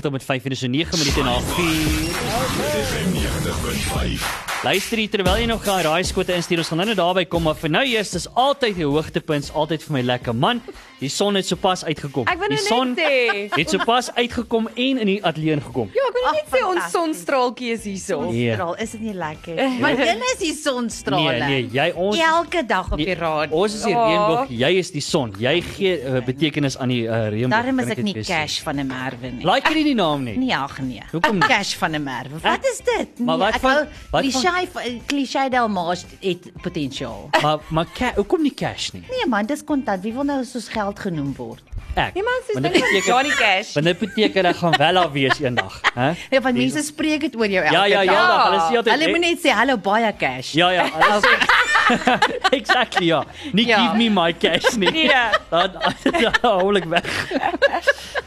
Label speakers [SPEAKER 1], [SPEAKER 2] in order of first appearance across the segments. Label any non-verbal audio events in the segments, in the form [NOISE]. [SPEAKER 1] 90.5 en is 9 minute na 4.
[SPEAKER 2] FM 90.5.
[SPEAKER 1] Luister hier terwyl jy nog daai raai skote instuur. Ons gaan nou net daarby kom, maar vir nou eers dis altyd die hoogtepunt, is altyd vir my lekker man. Die son het sopas uitgekom.
[SPEAKER 3] Ek wou nou
[SPEAKER 1] die son
[SPEAKER 3] net sê.
[SPEAKER 1] het sopas uitgekom en in die ateljee ingekom.
[SPEAKER 3] [LAUGHS] Ja, ek wil
[SPEAKER 4] Ag,
[SPEAKER 3] net sê ons
[SPEAKER 4] fantasties.
[SPEAKER 3] sonstraaltjie is hierso.
[SPEAKER 1] Nee.
[SPEAKER 4] Straal, is dit nie lekker? Want julle is die
[SPEAKER 1] Nee,
[SPEAKER 4] sonstrale.
[SPEAKER 1] nee, jy ons
[SPEAKER 4] Elke dag Ja, op die
[SPEAKER 1] nee,
[SPEAKER 4] raad. Ja.
[SPEAKER 1] Ons is die
[SPEAKER 3] Ja.
[SPEAKER 1] reënboog, jy is die son. Jy gee uh, betekenis aan die uh, reënboog.
[SPEAKER 4] Daarom
[SPEAKER 1] kan
[SPEAKER 4] is ek
[SPEAKER 1] dit
[SPEAKER 4] nie
[SPEAKER 1] bes sê.
[SPEAKER 4] cash van 'n merwe nie.
[SPEAKER 1] Like jy nie die naam nie.
[SPEAKER 4] Nee, ag nee.
[SPEAKER 1] Hoekom nie?
[SPEAKER 4] Cash van 'n merwe. Wat is dit?
[SPEAKER 1] Maar wat
[SPEAKER 4] nee,
[SPEAKER 1] van- wat van-
[SPEAKER 4] die shy klise Delmas het potensiaal.
[SPEAKER 1] Maar maar ca- hoekom nie cash nie?
[SPEAKER 4] Nee man, dis kontant. Wie wil nou soos geld genoem word?
[SPEAKER 1] Ek.
[SPEAKER 3] Nee man, soos
[SPEAKER 4] nou
[SPEAKER 1] Want dit
[SPEAKER 3] dit is
[SPEAKER 1] beteken-
[SPEAKER 3] Johnny Cash.
[SPEAKER 1] Want dit beteken ek gaan wel daar wees eendag, hè?
[SPEAKER 4] Ja, want mense spreek dit oor jou elke
[SPEAKER 1] Nee. Ja, ja, ja,
[SPEAKER 4] dag.
[SPEAKER 1] dag, hulle sê altyd
[SPEAKER 4] Hulle moet net sê hallo baie cash.
[SPEAKER 1] Ja ja, alles [LAUGHS] Exactly ja. Nie
[SPEAKER 4] Ja.
[SPEAKER 1] give me my cash nie.
[SPEAKER 4] [LAUGHS]
[SPEAKER 3] Nee.
[SPEAKER 1] Dan [LAUGHS] dan hou ek weg.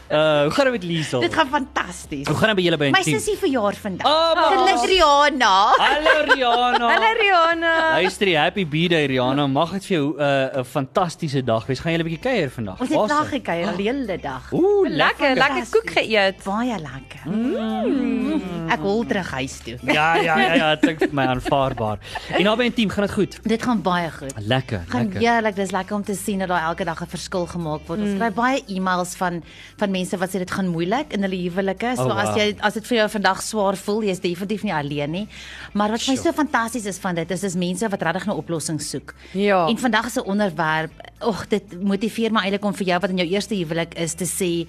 [SPEAKER 1] Uh, hoe gaan dit met Liesel?
[SPEAKER 4] Dit gaan fantasties.
[SPEAKER 1] Hoe gaan dit Ah, by julle by
[SPEAKER 4] My
[SPEAKER 1] 10?
[SPEAKER 4] sussie verjaar vandag.
[SPEAKER 1] Oh, maar-
[SPEAKER 4] Gelukkig Rihanna.
[SPEAKER 1] Hallo Rihanna.
[SPEAKER 3] Hallo Rihanna.
[SPEAKER 1] Luister, die happy birthday Rihanna. Mag dit vir jou 'n uh, 'n fantastiese dag wees. Gaan julle 'n bietjie kuier vandag?
[SPEAKER 4] Ons het dag gekuier al die hele dag.
[SPEAKER 1] Ooh,
[SPEAKER 3] Lekker, lekker koek geëet.
[SPEAKER 4] Baie lekker. Mm. Ek hol terug huis toe.
[SPEAKER 1] Ja ja ja ja, dit klink vir my aanvaarbaar. En naby en team gaan dit goed.
[SPEAKER 4] Dit gaan baie goed.
[SPEAKER 1] Lekker,
[SPEAKER 4] Gaan ja,
[SPEAKER 1] lekker.
[SPEAKER 4] heerlik, dis lekker om te sien dat daar elke dag 'n verskil gemaak word. Ons kry baie e-mails van van mense wat sê dit gaan moeilik in hulle huwelike. So
[SPEAKER 1] Oh,
[SPEAKER 4] oh,
[SPEAKER 1] wow.
[SPEAKER 4] wow. as jy as dit vir jou vandag swaar voel, jy's definitief nie alleen nie. Maar wat my so fantasties is van dit is dis mense wat regtig 'n oplossing soek.
[SPEAKER 3] Ja.
[SPEAKER 4] En vandag se onderwerp, och, dit motiveer my eintlik om vir jou wat in jou eerste huwelik is te sê,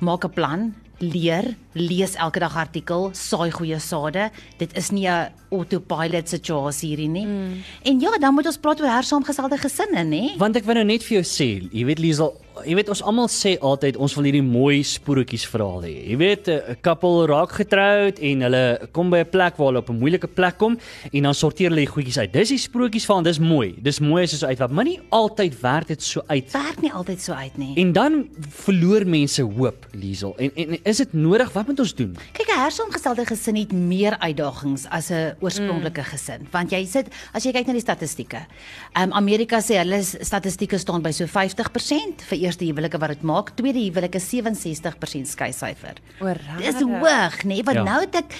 [SPEAKER 4] maak 'n plan leer, lees elke dag artikel, saai goeie sade. Dit is nie 'n autopilot situasie hierdie nie. Mm. En ja, dan moet ons praat oor hersaamgestelde gesinne, nê?
[SPEAKER 1] Want ek wil nou net vir jou sê, jy weet Liesel, jy weet ons almal sê altyd ons wil hierdie mooi spoortjies verhaal hê. Jy weet eh, 'n koppel raak getroud en hulle kom by 'n plek waar hulle op 'n moeilike plek kom en dan sorteer hulle die goedjies uit. Dis die spoortjies van, dis mooi. Dis mooi as dit so uitwerk, maar nie altyd werk dit so uit.
[SPEAKER 4] Werk nie altyd so uit nie.
[SPEAKER 1] En dan verloor mense hoop, Liesel. En, en en is dit nodig? Wat moet ons doen?
[SPEAKER 4] Kyk, 'n hersaamgestelde gesin het meer uitdagings as 'n oorspronklike gesin, want jy sit as jy kyk na die statistieke. Ehm um, Amerika sê hulle s- statistieke staan by so 50% vir eerste huwelike wat dit maak, tweede huwelike 67% skeisyfer.
[SPEAKER 3] O,
[SPEAKER 4] Dis
[SPEAKER 3] regtig?
[SPEAKER 4] hoog, nê? Want
[SPEAKER 1] Ja.
[SPEAKER 4] ja. nou het ek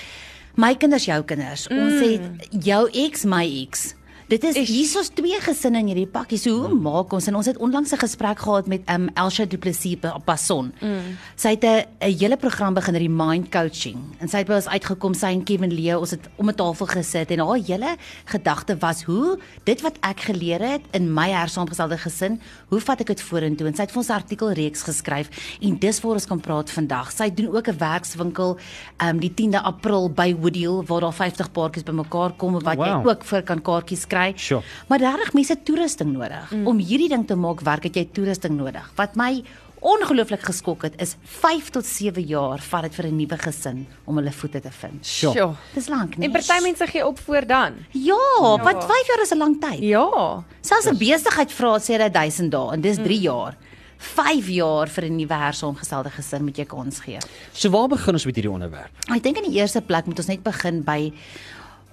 [SPEAKER 4] my kinders, jou kinders. Mm. Ons het jou ex, my ex. Dit is hiersoos twee gesinne in hierdie pakkie. So hoe maak ons en ons het onlangs 'n gesprek gehad met um Elsha Du Plessis op Passon. Mm. Sy het 'n 'n hele program begin hierdie mind coaching en sy het by ons uitgekom sy en Kevin Lee ons het om 'n tafel gesit en haar hele gedagte was hoe dit wat ek geleer het in my hersaamgestelde gesin, hoe vat ek dit vorentoe? En sy het vir ons 'n artikelreeks geskryf en dis waar ons kan praat vandag. Sy doen ook 'n werkswinkel um die 10de April by Woodhill waar daar 50 paartjies bymekaar kom wat
[SPEAKER 1] Wow.
[SPEAKER 4] wow. jy ook vir kan kaartjies kry.
[SPEAKER 1] Sure.
[SPEAKER 4] Maar regtig mense het toerusting nodig. Mm. Om hierdie ding te maak werk het jy toerusting nodig. Wat my ongelooflik geskok het is 5 tot 7 jaar vat dit vir 'n nuwe gesin om hulle voete te vind.
[SPEAKER 1] Sjoe.
[SPEAKER 3] Sjoe.
[SPEAKER 4] Dis lank, nee.
[SPEAKER 3] En party mense gee op voor dan.
[SPEAKER 4] Ja, want 5 jaar is 'n lang tyd.
[SPEAKER 3] Ja. Mm.
[SPEAKER 4] Selfs 'n besigheid vra sê dat 1000 dae en dis 3 jaar. 5 jaar vir 'n nuwe hersaamgestelde gesin moet jy kans gee.
[SPEAKER 1] So waar begin ons met hierdie onderwerp?
[SPEAKER 4] Ek dink in die eerste plek moet ons net begin by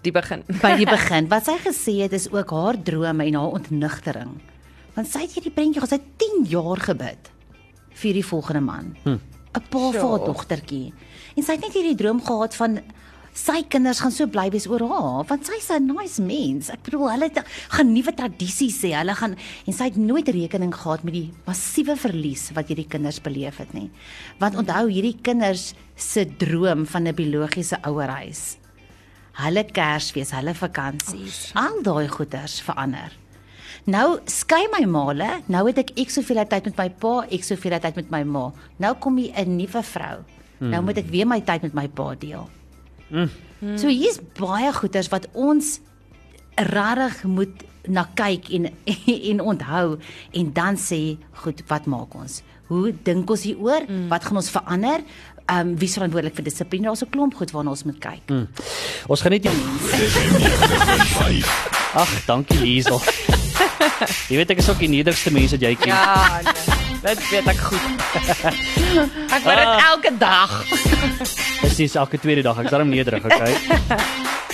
[SPEAKER 3] Die begin.
[SPEAKER 4] by die begin. Wat sy gesê het is ook haar drome en haar ontnigtering. Want sy het hierdie prentjie gehad, sy het 10 jaar gebid vir die volgende man. 'n hm. Pa vir haar
[SPEAKER 3] Sjoe.
[SPEAKER 4] dogtertjie. En sy het net hierdie droom gehad van sy kinders gaan so bly wees oor haar, want sy's 'n nice mens. Ek bedoel, hulle het- gaan nuwe tradisies hê. Hulle gaan en sy het nooit rekening gehad met die massiewe verlies wat hierdie kinders beleef het nie. Want onthou, hierdie kinders se droom van 'n biologiese ouerhuis hulle Kersfees, hulle vakansies, oh, al daai goeders verander. Nou skei my maale, nou het ek ek soveel tyd met my pa, ek soveel tyd met my ma. Nou kom hier 'n nuwe vrou. Mm. Nou moet ek weer my tyd met my pa deel. Mm. So hier's baie goeders wat ons rarig moet na kyk en [LAUGHS] en onthou en dan sê goed wat maak ons? Hoe dink ons hieroor? Mm. Wat gaan ons verander? Ehm um, wie is verantwoordelik vir dissipline? Daar's 'n klomp goed waarna ons moet kyk. Mm.
[SPEAKER 1] Hm. Ons gaan net
[SPEAKER 4] [LAUGHS]
[SPEAKER 1] die
[SPEAKER 2] FM 90.5.
[SPEAKER 1] Ag, dankie
[SPEAKER 4] [LAUGHS]
[SPEAKER 1] Liesel. jy weet ek is ook die nederigste mens wat jy ken.
[SPEAKER 3] Ja. nee. Dit weet ek goed.
[SPEAKER 4] Ek wou dit elke dag.
[SPEAKER 1] Dis sins elke tweede dag. Ek's darm nederig, okay?
[SPEAKER 4] [LAUGHS]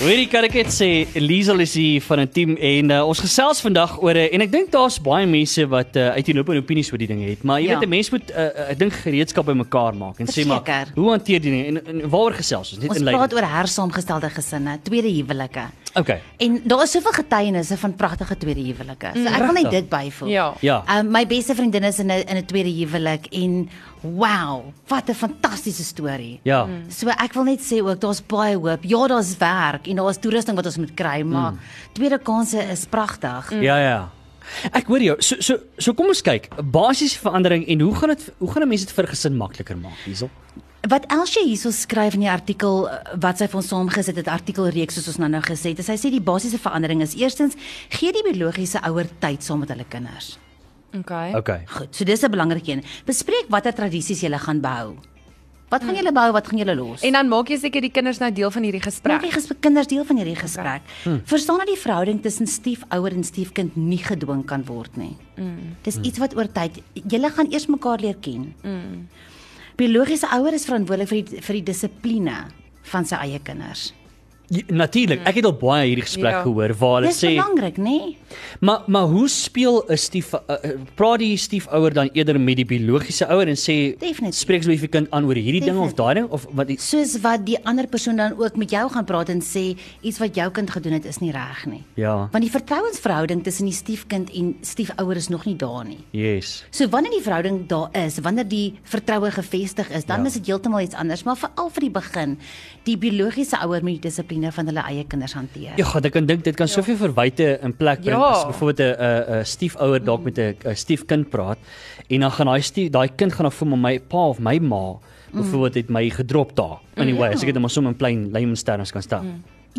[SPEAKER 1] Hoorie kan ek dit sê, Liesel is hier van 'n team en uh, ons gesels vandag oor uh, en ek dink daar's baie mense wat uh, uiteenlopende opinies oor die dinge het, maar jy
[SPEAKER 4] Ja.
[SPEAKER 1] weet 'n mens moet uh, uh, ek dink gereedskap bymekaar maak en sê maar
[SPEAKER 4] Verseker.
[SPEAKER 1] hoe hanteer die dinge en, en waaroor gesels ons net
[SPEAKER 4] Ons
[SPEAKER 1] in
[SPEAKER 4] praat
[SPEAKER 1] lei.
[SPEAKER 4] oor hersaamgestelde gesinne, tweede huwelike.
[SPEAKER 1] Okay.
[SPEAKER 4] En daar is soveel getuienisse van pragtige tweede huwelike. So ek wil net
[SPEAKER 1] Mm. Pragtig.
[SPEAKER 4] dit byvoeg.
[SPEAKER 3] Ja.
[SPEAKER 1] Ja.
[SPEAKER 4] Ehm, my beste vriendin is in 'n in 'n tweede huwelik en wow, wat 'n fantastiese storie.
[SPEAKER 1] Ja.
[SPEAKER 4] So ek wil net sê ook daar's baie hoop. Ja, daar's werk en daar's toerusting wat ons moet kry,
[SPEAKER 1] Mm.
[SPEAKER 4] maar tweede kansse is pragtig.
[SPEAKER 1] Ja ja. Ek hoor jou. So so so kom ons kyk. Basiese verandering en hoe gaan dit hoe gaan 'n mens dit vir gesin makliker maak, Liesel?
[SPEAKER 4] Wat Elsje hierso skryf in die artikel eh, wat sy vir ons saamgesit het, artikelreeks soos ons nou nou gesê het, is sy sê die basiese verandering is eerstens gee die biologiese ouer tyd saam met hulle kinders.
[SPEAKER 3] Okay.
[SPEAKER 1] Okay.
[SPEAKER 4] Goed, so dis 'n belangrike een. Bespreek watter tradisies jy gaan behou. Wat gaan julle behou, wat gaan julle los?
[SPEAKER 3] En dan maak jy seker die kinders nou deel van hierdie gesprek.
[SPEAKER 4] Maak die gesprek kinders deel van hierdie gesprek. Okay. Hmm. Verstaan dat die verhouding tussen stiefouer en stiefkind nie gedwing kan word nie.
[SPEAKER 1] Hmm.
[SPEAKER 4] Mm. Dis iets wat oor tyd julle gaan eers mekaar leer ken. Mm.
[SPEAKER 1] Hmm.
[SPEAKER 4] Biologiese ouer is verantwoordelik vir die vir die dissipline van sy eie kinders.
[SPEAKER 1] J- Natuurlik. Ek het al baie hierdie gesprek
[SPEAKER 3] Ja.
[SPEAKER 1] gehoor waar hulle
[SPEAKER 4] Mm. Dis
[SPEAKER 1] sê
[SPEAKER 4] belangrik, nê?
[SPEAKER 1] Maar maar hoe speel 'n stief uh, uh, praat die stiefouer dan eerder met die biologiese ouer en sê
[SPEAKER 4] Definitief.
[SPEAKER 1] spreek asseblief die kind aan oor hierdie ding of
[SPEAKER 4] Definitief.
[SPEAKER 1] daai ding of wat die,
[SPEAKER 4] Soos wat die ander persoon dan ook met jou gaan praat en sê iets wat jou kind gedoen het is nie reg nie.
[SPEAKER 1] ja.
[SPEAKER 4] Want die vertrouensverhouding tussen die stiefkind en stiefouer is nog nie daar nie.
[SPEAKER 1] Yes.
[SPEAKER 4] So wanneer die verhouding daar is, wanneer die vertroue gevestig is, dan
[SPEAKER 1] Ja.
[SPEAKER 4] ja. is dit heeltemal iets anders, maar veral vir die begin, die biologiese ouer moet die dissipline van hulle eie kinders hanteer.
[SPEAKER 1] Ja, God, ek kan dink dit kan soveel verwyte in plek bring
[SPEAKER 3] Ja.
[SPEAKER 1] as byvoorbeeld 'n 'n 'n stiefouer
[SPEAKER 4] Mm.
[SPEAKER 1] dalk met 'n 'n stiefkind praat en dan gaan daai stief daai kind gaan dan voel maar my pa of my
[SPEAKER 4] Mm.
[SPEAKER 1] ma byvoorbeeld het my gedrop daar. Anyway, as ek dit nou maar sommer in plain layman's terms kan stel.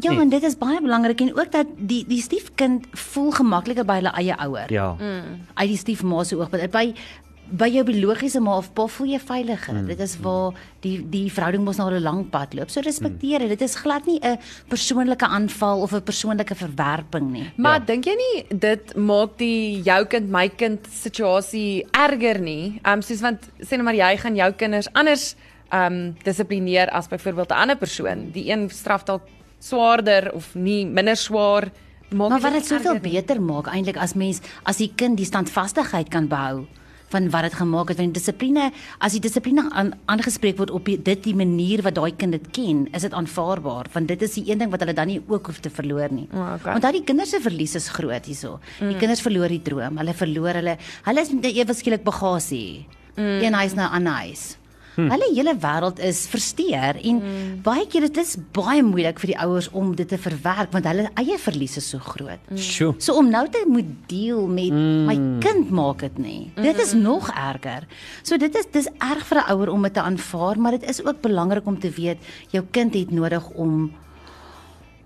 [SPEAKER 4] ja en dit is baie belangrik en ook dat die die stiefkind voel gemakliker by hulle eie ouer.
[SPEAKER 1] Ja.
[SPEAKER 4] Uit die stiefma se oogpunt. By by jou biologiese ma of pa voel jy veiliger.
[SPEAKER 1] Hmm.
[SPEAKER 4] Mm. Dit is waar die die verhouding mos na 'n lang pad loop. So respekteer
[SPEAKER 1] Hmm.
[SPEAKER 4] dit. Mm. Dit is glad nie 'n persoonlike aanval of 'n persoonlike verwerping nie.
[SPEAKER 3] Maar
[SPEAKER 1] Ja.
[SPEAKER 3] ja. dink jy nie dit maak die jou kind my kind situasie erger nie? Ehm um, soos want sê nou maar jy gaan jou kinders anders ehm um, dissiplineer as byvoorbeeld 'n ander persoon. Die een straf dalk swaarder of nie minder swaar. Maak
[SPEAKER 4] Maar
[SPEAKER 3] nie
[SPEAKER 4] wat dit soveel
[SPEAKER 3] erger nie.
[SPEAKER 4] beter maak eintlik as mens as die kind die standvastigheid kan behou van wat dit gemaak het want die dissipline as die dissipline aan, aangespreek word op die, dit die manier wat daai kind dit ken is dit aanvaarbaar want dit is die een ding wat hulle dan nie ook hoef te verloor nie.
[SPEAKER 3] O, oké.
[SPEAKER 4] Onthou die kinders se verlies is groot hierso. Die kinders verloor die droom, hulle verloor hulle hulle is met 'n ewe skielik bagasie. Mm. Een huis na 'n ander huis. Hmm. Hulle hele wêreld is versteur en hmm. baie keer dit is baie moeilik vir die ouers om dit te verwerk want hulle eie verlies is so groot.
[SPEAKER 1] Sjoe.
[SPEAKER 4] So om nou te moet deel met mm. my kind maak dit nie. Dit is nog erger. So dit is dis erg vir 'n ouer om dit te aanvaar, maar dit is ook belangrik om te weet jou kind het nodig om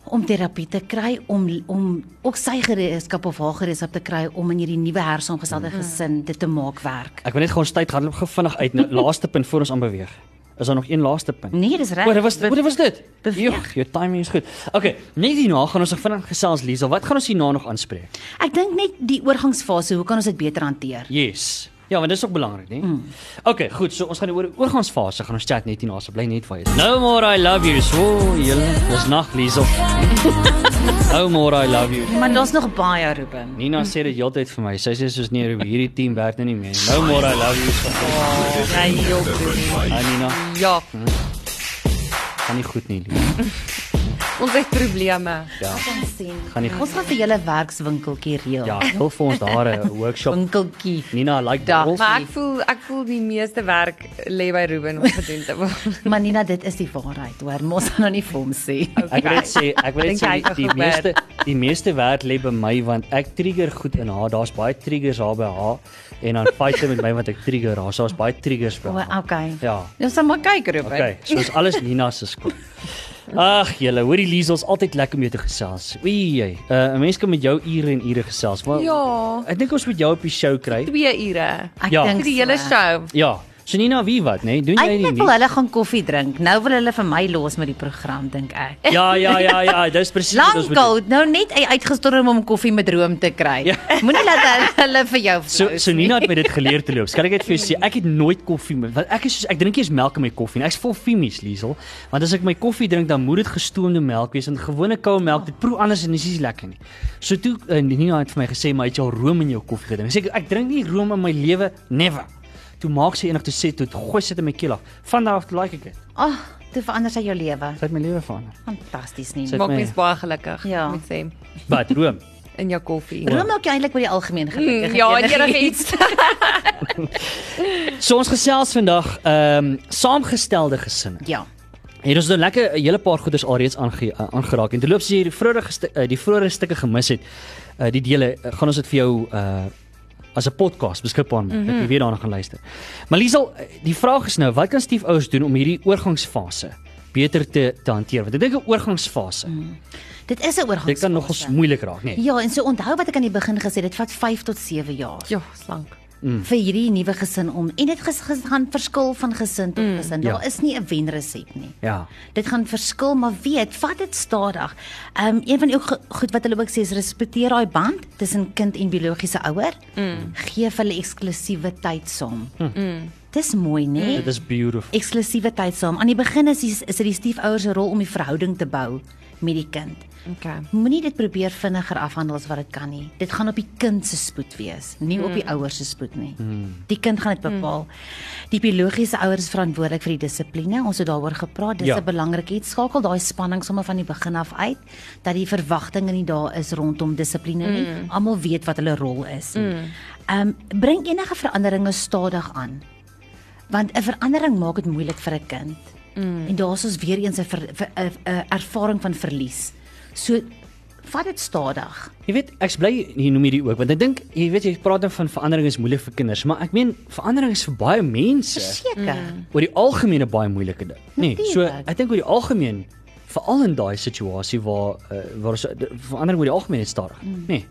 [SPEAKER 4] om terapie te kry om om ook sy gereedskap of haar gereedskap te kry om in hierdie nuwe hersaamgestelde gesin dit te maak werk.
[SPEAKER 1] Ek wil net gou ons tyd gaan gou vinnig uit.
[SPEAKER 4] [LAUGHS]
[SPEAKER 1] Nou, laaste punt voor ons aanbeweeg. Is daar nog een laaste punt?
[SPEAKER 4] Nee, dis
[SPEAKER 1] Wat
[SPEAKER 4] reg.
[SPEAKER 1] was wat was dit?
[SPEAKER 4] beweeg.
[SPEAKER 1] Joch, jou timing is goed. Okay, net hierna gaan ons nog vinnig gesels Liesel. Wat gaan ons hierna nog aanspreek?
[SPEAKER 4] Ek dink net die oorgangsfase, hoe kan ons dit beter hanteer?
[SPEAKER 1] Yes. Ja, want dis ook belangrik, né?
[SPEAKER 3] Hmm.
[SPEAKER 1] Mm. Okay, goed. So ons gaan oor oorgangsfase gaan ons chat net hierna. So bly net vir jou. No more I love you. So, julle, ons nag Liesel. [LAUGHS] no more I love you.
[SPEAKER 4] Maar daar's nog baie, Ruben.
[SPEAKER 1] Nina sê dit heeltyd vir my. Sy sê soos nee, Ruby, hierdie team werk nou nie meer. nie. No more I love you. So,
[SPEAKER 4] Jy jok.
[SPEAKER 1] Ah, Nina,
[SPEAKER 3] Ja,
[SPEAKER 1] gaan nie goed nie, Liesel.
[SPEAKER 3] ons het probleme.
[SPEAKER 1] Ja,
[SPEAKER 4] Ons sien.
[SPEAKER 1] gaan nie goed.
[SPEAKER 4] Ons gaan vir julle werkswinkeltjie reël.
[SPEAKER 1] Ja, help vir ons daar 'n workshop.
[SPEAKER 3] [LAUGHS]
[SPEAKER 4] Winkeltjie.
[SPEAKER 1] Nina, I like
[SPEAKER 3] Ja,
[SPEAKER 1] bottles.
[SPEAKER 3] maar ek voel ek voel die meeste werk lê by Ruben om gedoen te
[SPEAKER 4] [LAUGHS]
[SPEAKER 3] word.
[SPEAKER 4] Maar Nina, dit is die waarheid, hoor. Mos nou nie vir hom sê.
[SPEAKER 1] Ek wil net
[SPEAKER 4] [LAUGHS]
[SPEAKER 1] sê, ek wil net
[SPEAKER 3] Dink
[SPEAKER 1] sê
[SPEAKER 3] jy hy kan
[SPEAKER 1] die, die
[SPEAKER 3] goed werk?
[SPEAKER 1] meeste die meeste werk lê by my want ek trigger goed in haar. Daar's baie triggers haar by haar en dan fight sy met my want ek trigger haar. So daar's baie triggers by
[SPEAKER 4] O,
[SPEAKER 1] haar.
[SPEAKER 4] okay.
[SPEAKER 1] Ja.
[SPEAKER 4] Ons Nou, sal maar kyk, Ruben.
[SPEAKER 1] Okay, so is alles Nina se skuld. Ag, julle, hoor die Liesel's altyd lekker om jou te gesels. Oei, jy. Uh, 'n mens kan met jou ure en ure gesels, maar
[SPEAKER 3] Ja.
[SPEAKER 1] Ek dink ons moet jou op die show kry.
[SPEAKER 3] 2 ure.
[SPEAKER 4] Ek
[SPEAKER 1] Ja.
[SPEAKER 3] Vir
[SPEAKER 4] dink
[SPEAKER 3] die hele
[SPEAKER 4] so.
[SPEAKER 3] show.
[SPEAKER 1] Ja. So Nina, wie wat, nê? Nee? Doen jy
[SPEAKER 4] Eintlik
[SPEAKER 1] nie?
[SPEAKER 4] wil hulle gaan koffie drink. Nou wil hulle vir my los met die program dink ek.
[SPEAKER 1] Ja, ja, ja, ja,
[SPEAKER 4] [LAUGHS]
[SPEAKER 1] dis presies wat ons bedoel.
[SPEAKER 4] Lankal, nou net hy uitgestorm om koffie met room te kry.
[SPEAKER 1] Ja.
[SPEAKER 4] Moenie laat hulle- [LAUGHS] hulle vir jou
[SPEAKER 1] So
[SPEAKER 4] flous
[SPEAKER 1] so
[SPEAKER 4] Nou nie.
[SPEAKER 1] Nina het my dit geleer te loop. Kan ek dit vir jou sê? Ek het nooit koffie met want ek is soos ek drink eers melk in my koffie en ek's vol femies, Liesel. Want as ek my koffie drink dan moet dit gestoomde melk wees en gewone koue melk dit proe anders en dis nie lekker nie. So toe eh, Nina het vir my gesê maar het jy al room in jou koffie gedrink? Ek sê ek drink nie room in my lewe never. Toe maak sy enig toe sê toe gooi sit in my keel af. Van daardie af like ek dit.
[SPEAKER 4] Ag, oh, dit verander sy jou lewe.
[SPEAKER 1] Sy het my lewe verander.
[SPEAKER 4] Fantasties nie.
[SPEAKER 1] So-
[SPEAKER 4] So,
[SPEAKER 1] Dit
[SPEAKER 3] Maak
[SPEAKER 1] my-
[SPEAKER 3] mens baie gelukkig,
[SPEAKER 4] Ja.
[SPEAKER 3] ja. moet sê,
[SPEAKER 1] But room.
[SPEAKER 3] in jou koffie.
[SPEAKER 1] Ja.
[SPEAKER 4] room maak jou eintlik oor die algemeen gelukkig.
[SPEAKER 3] Ja,
[SPEAKER 4] en
[SPEAKER 3] enige
[SPEAKER 4] enigiets.
[SPEAKER 3] iets.
[SPEAKER 1] [LAUGHS] So ons gesels vandag ehm um, saamgestelde gesinne.
[SPEAKER 4] [LAUGHS] Ja.
[SPEAKER 1] Hier is nou lekker 'n hele paar goeders alreeds aange, uh, aangeraak en toe loop as jy die vorige stu- uh, die vorige stukke gemis het, uh, die dele uh, gaan ons dit vir jou uh as 'n podcast beskikbaar maak. Mm -hmm. Ek weet daarna gaan luister. Maar Liesel, uh, die vraag is nou, wat kan stiefouers doen om hierdie oorgangsfase beter te te hanteer? Want ek dink 'n oorgangsfase, mm,
[SPEAKER 4] Dit is 'n oorgang.
[SPEAKER 1] dit kan nogals moeilik raak, nee.
[SPEAKER 4] Ja, en so onthou wat ek aan die begin gesê het, dit vat 5 tot 7 jaar
[SPEAKER 3] Ja, slank.
[SPEAKER 4] mm. vir hierdie nuwe gesin om en dit ges- ges- gaan verskil van gesin tot mm. gesin. Daar
[SPEAKER 1] Ja.
[SPEAKER 4] ja. is nie 'n wenresep nie.
[SPEAKER 1] Ja.
[SPEAKER 4] Dit gaan verskil, maar weet, vat dit stadig. Ehm um, een van die ook go- goed wat hulle ook sê is respekteer daai band tussen kind en biologiese ouer. Mm. Geef hulle eksklusiewe tyd saam. Mm. Dis mooi, né?
[SPEAKER 1] Dit is beautiful.
[SPEAKER 4] Eksklusiewe tyd saam. Aan die begin is die, is dit die stiefouers se rol om die verhouding te bou met die kind.
[SPEAKER 3] Okay.
[SPEAKER 4] Moenie dit probeer vinniger afhandel as wat dit kan nie. Dit gaan op die kind se spoed wees, nie op die ouers se spoed nie. Die kind gaan dit bepaal. Die biologiese ouers is verantwoordelik vir die dissipline. Ons het daaroor gepraat. Dis
[SPEAKER 1] Ja.
[SPEAKER 4] 'n belangrike iets. Skakel daai spanning sommer van die begin af uit dat die verwagtinge nie daar is rondom dissipline nie. Almal weet wat hulle rol is. Ehm bring enige veranderinge stadig aan. Want 'n verandering maak dit moeilik vir 'n kind. Mm. En daar's ons weer eens 'n ver- ver- 'n 'n ervaring van verlies. So vat dit stadig.
[SPEAKER 1] Jy weet, ek's bly jy noem hierdie ook want ek dink jy weet jy praat dan van verandering is moeilik vir kinders, maar ek meen verandering is vir baie mense.
[SPEAKER 4] Verseker. Mm.
[SPEAKER 1] oor die algemeen 'n baie moeilike ding. Nee, so
[SPEAKER 4] Natuurlik.
[SPEAKER 1] ek dink oor die algemeen veral in daai situasie waar uh, waar so, de- verandering oor die algemeen is stadig. Mm. Nee.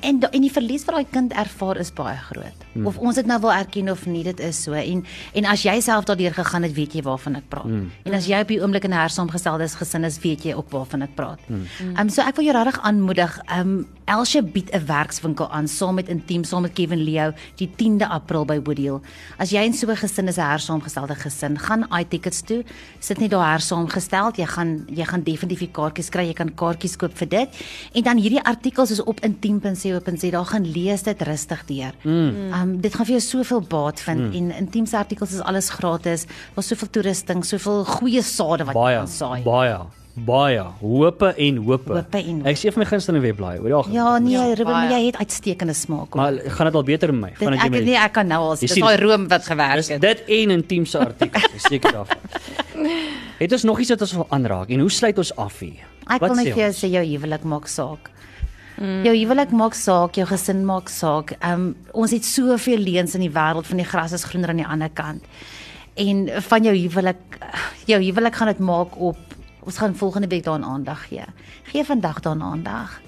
[SPEAKER 4] En da, en die verlies wat daai kind ervaar is baie groot. Mm. Of ons dit nou wil erken of nie, dit is so. En en as jy self daardeur gegaan het, weet jy waarvan ek praat. Mm. En as jy op die oomblik in 'n hersaamgesteldes gesin is, weet jy ook waarvan ek praat. Ehm mm. um, so ek wil jou regtig aanmoedig. Ehm um, Elsje bied 'n werkswinkel aan saam met Intiem, saam met Kevin Leo, die 10de April by Woodhill. As jy in so 'n gesin is 'n hersaamgestelde gesin, gaan iTickets toe. Sit net daar hersaamgestel. Jy gaan jy gaan definitief die kaartjies kry. Jy kan kaartjies koop vir dit. En dan hierdie artikels is op intiem.co.za. Daar gaan lees dit rustig deur. Ehm
[SPEAKER 1] Mm.
[SPEAKER 4] um, dit gaan vir jou soveel baat vind mm. en Intiem se artikels is alles gratis. Daar's soveel toerusting, soveel goeie sade wat jy
[SPEAKER 1] Baie
[SPEAKER 4] kan saai.
[SPEAKER 1] baie baie hope en hope.
[SPEAKER 4] Hope en hope.
[SPEAKER 1] Ek sien van my gunsteling webblaai oor die algemeen.
[SPEAKER 4] Ja, nee,
[SPEAKER 3] Ja,
[SPEAKER 4] Ruben,
[SPEAKER 3] baie.
[SPEAKER 4] jy het uitstekende smaak. hoor.
[SPEAKER 1] Maar gaan dit al beter met my
[SPEAKER 4] Dit
[SPEAKER 1] vandat jy
[SPEAKER 4] ek
[SPEAKER 1] my
[SPEAKER 4] het nie ek kan nou al
[SPEAKER 1] Jy
[SPEAKER 4] dis
[SPEAKER 1] sien,
[SPEAKER 4] daai room wat
[SPEAKER 1] Dis
[SPEAKER 4] gewerk het.
[SPEAKER 1] dit en intiem se artikels, is seker daarvan.
[SPEAKER 4] [LAUGHS]
[SPEAKER 1] Het ons nog iets wat ons wil aanraak en hoe sluit ons af hier?
[SPEAKER 4] Ek
[SPEAKER 1] Wat
[SPEAKER 4] wil
[SPEAKER 1] sê
[SPEAKER 4] net vir jou
[SPEAKER 1] ons?
[SPEAKER 4] sê jou huwelik maak saak. Mm. Jou huwelik maak saak, jou gesin maak saak. Um ons het soveel leuns in die wêreld van die gras is groener aan die ander kant. En van jou huwelik jou huwelik gaan dit maak op ons gaan volgende week daaraan aandag gee. Gee vandag daaraan aandag.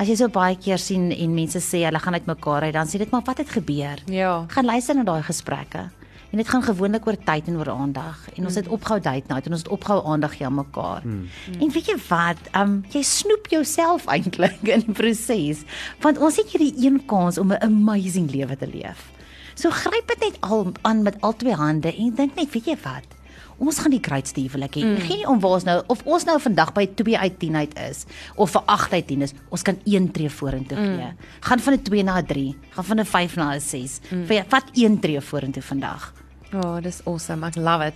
[SPEAKER 4] As jy so baie keer sien en mense sê hulle gaan uitmekaar uit, dan sê dit maar wat het gebeur.
[SPEAKER 3] Ja.
[SPEAKER 4] Gaan luister na daai gesprekke. En dit gaan gewoonlik oor tyd en oor aandag. En ons het opgehou date night en ons het opgehou aandag gee aan mekaar. En weet jy wat? Um jy snoep jouself eintlik in die proses, want ons het hierdie een kans om 'n amazing lewe te leef. So gryp dit net al aan met albei hande en dink net, weet jy wat? Ons gaan die grootste huwelik hê. Mm. Geen nie om waar ons nou of ons nou vandag by 2 uit 10 uit is of vir 8 uit 10 is, ons kan een tree vorentoe gee. Mm. Gaan van 'n 2 na 'n 3, gaan van 'n 5 na 'n 6. Mm. Vat een tree vorentoe vandag.
[SPEAKER 3] Ja, oh, dis awesome. Ek love it.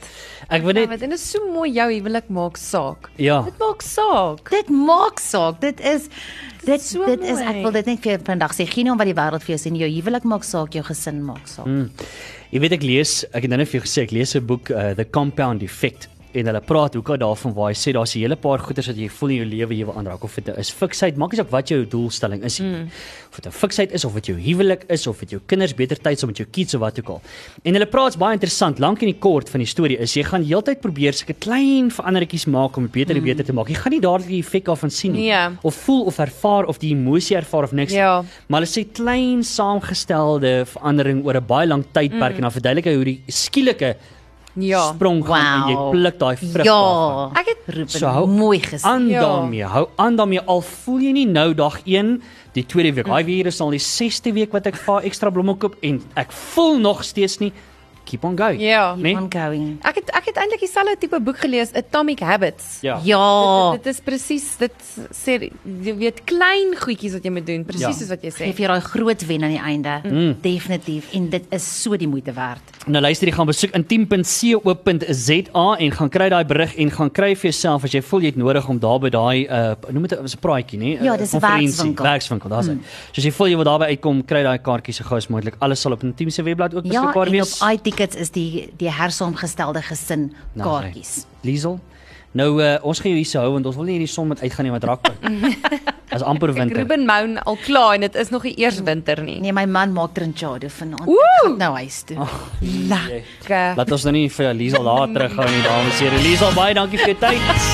[SPEAKER 1] Ek wil
[SPEAKER 3] Love
[SPEAKER 1] net
[SPEAKER 3] it. En dit is so mooi jou huwelik maak saak.
[SPEAKER 1] Ja.
[SPEAKER 3] Dit maak saak.
[SPEAKER 4] Dit maak saak. Dit is dit
[SPEAKER 3] so
[SPEAKER 4] dit is ek
[SPEAKER 3] mooi.
[SPEAKER 4] wil dit net vir jou vandag sê, geen om wat die wêreld vir jou sê nie, jou huwelik maak saak, jou gesin maak saak. Mm.
[SPEAKER 1] Jy weet ek lees, ek het nou net vir jou gesê ek lees 'n boek uh, The eh, Compound Effect en hulle praat hoeka daarvan waar hy sê daar's 'n hele paar goeders wat jy voel in jou lewe jy wil aanraak of dit nou is fiksheid, maak nie saak wat jou doelstelling is nie. Mm. Of dit 'n fiksheid is of dit jou huwelik is of dit jou kinders beter tyd saam met jou kids of wat ook al. En hulle praat's baie interessant, lank en die kort van die storie is jy gaan heeltyd probeer seker klein veranderingkies maak om dit beter en beter te maak. Jy gaan nie dadelik die effek daarvan sien nie
[SPEAKER 3] Nee.
[SPEAKER 1] of voel of ervaar of die emosie ervaar of niks. nie.
[SPEAKER 3] Ja.
[SPEAKER 1] Maar hulle sê klein saamgestelde verandering oor 'n baie lang tydperk mm. en dan verduidelik hy hoe die skielike
[SPEAKER 3] Ja.
[SPEAKER 1] sprong gaan en jy
[SPEAKER 4] Wow.
[SPEAKER 1] pluk daai vrug daarvan.
[SPEAKER 4] Ja.
[SPEAKER 3] Ek het
[SPEAKER 4] Ruben,
[SPEAKER 1] So hou
[SPEAKER 4] mooi gesê.
[SPEAKER 1] Aan
[SPEAKER 3] Ja.
[SPEAKER 1] daarmee, hou aan daarmee al voel jy nie nou dag 1, die tweede week. Daai weer is al die 6ste week wat ek vir ekstra blomme koop en ek voel nog steeds nie keep on going.
[SPEAKER 3] Ja.
[SPEAKER 1] Nee?
[SPEAKER 4] I'm going.
[SPEAKER 3] Ek het ek het eintlik dieselfde tipe boek gelees, Atomic Habits.
[SPEAKER 1] Ja.
[SPEAKER 4] Ja.
[SPEAKER 3] Dit, dit is presies dit sê jy weet klein goedjies wat jy moet doen, presies
[SPEAKER 1] Ja.
[SPEAKER 3] ja. soos wat jy sê.
[SPEAKER 4] Gee vir jou daai groot wen aan die einde. Mm. Definitief en dit is so die moeite werd.
[SPEAKER 1] Nou luister, jy gaan besoek intiem.co.za en gaan kry daai berig en gaan kry vir jouself as jy voel jy het nodig om daar by daai uh noem dit 'n is 'n praatjie, nê? 'n
[SPEAKER 4] Ja, dis 'n
[SPEAKER 1] konferensie,
[SPEAKER 4] werkswinkel. Hmm.
[SPEAKER 1] Werkswinkel, daar's hy. Mm. So as jy voel jy wil daarby uitkom, kry daai kaartjies so gou as moontlik. Alles sal op Intiem se webblad ook
[SPEAKER 4] Ja,
[SPEAKER 1] beskikbaar
[SPEAKER 4] en
[SPEAKER 1] wees.
[SPEAKER 4] op iTickets is die die hersaamgestelde gesin
[SPEAKER 1] Nou, sy.
[SPEAKER 4] kaartjies.
[SPEAKER 1] Liesel. Nou uh, ons gaan jou hier se hou want ons wil nie hierdie son met uitgaan nie met
[SPEAKER 4] [LAUGHS]
[SPEAKER 1] rakpak. As amper
[SPEAKER 3] Ek
[SPEAKER 1] winter.
[SPEAKER 3] Ruben Moun al klaar en dit is nog nie eers winter nie.
[SPEAKER 4] Nee, my man maak trinchado vanaand.
[SPEAKER 3] Oeh!
[SPEAKER 4] Ek gaan nou huis toe. Oh,
[SPEAKER 3] Lekker. eh,
[SPEAKER 1] Laat ons nou nie vir Liesel daar terughou nie, dames en here. Liesel, baie dankie vir jou tyd.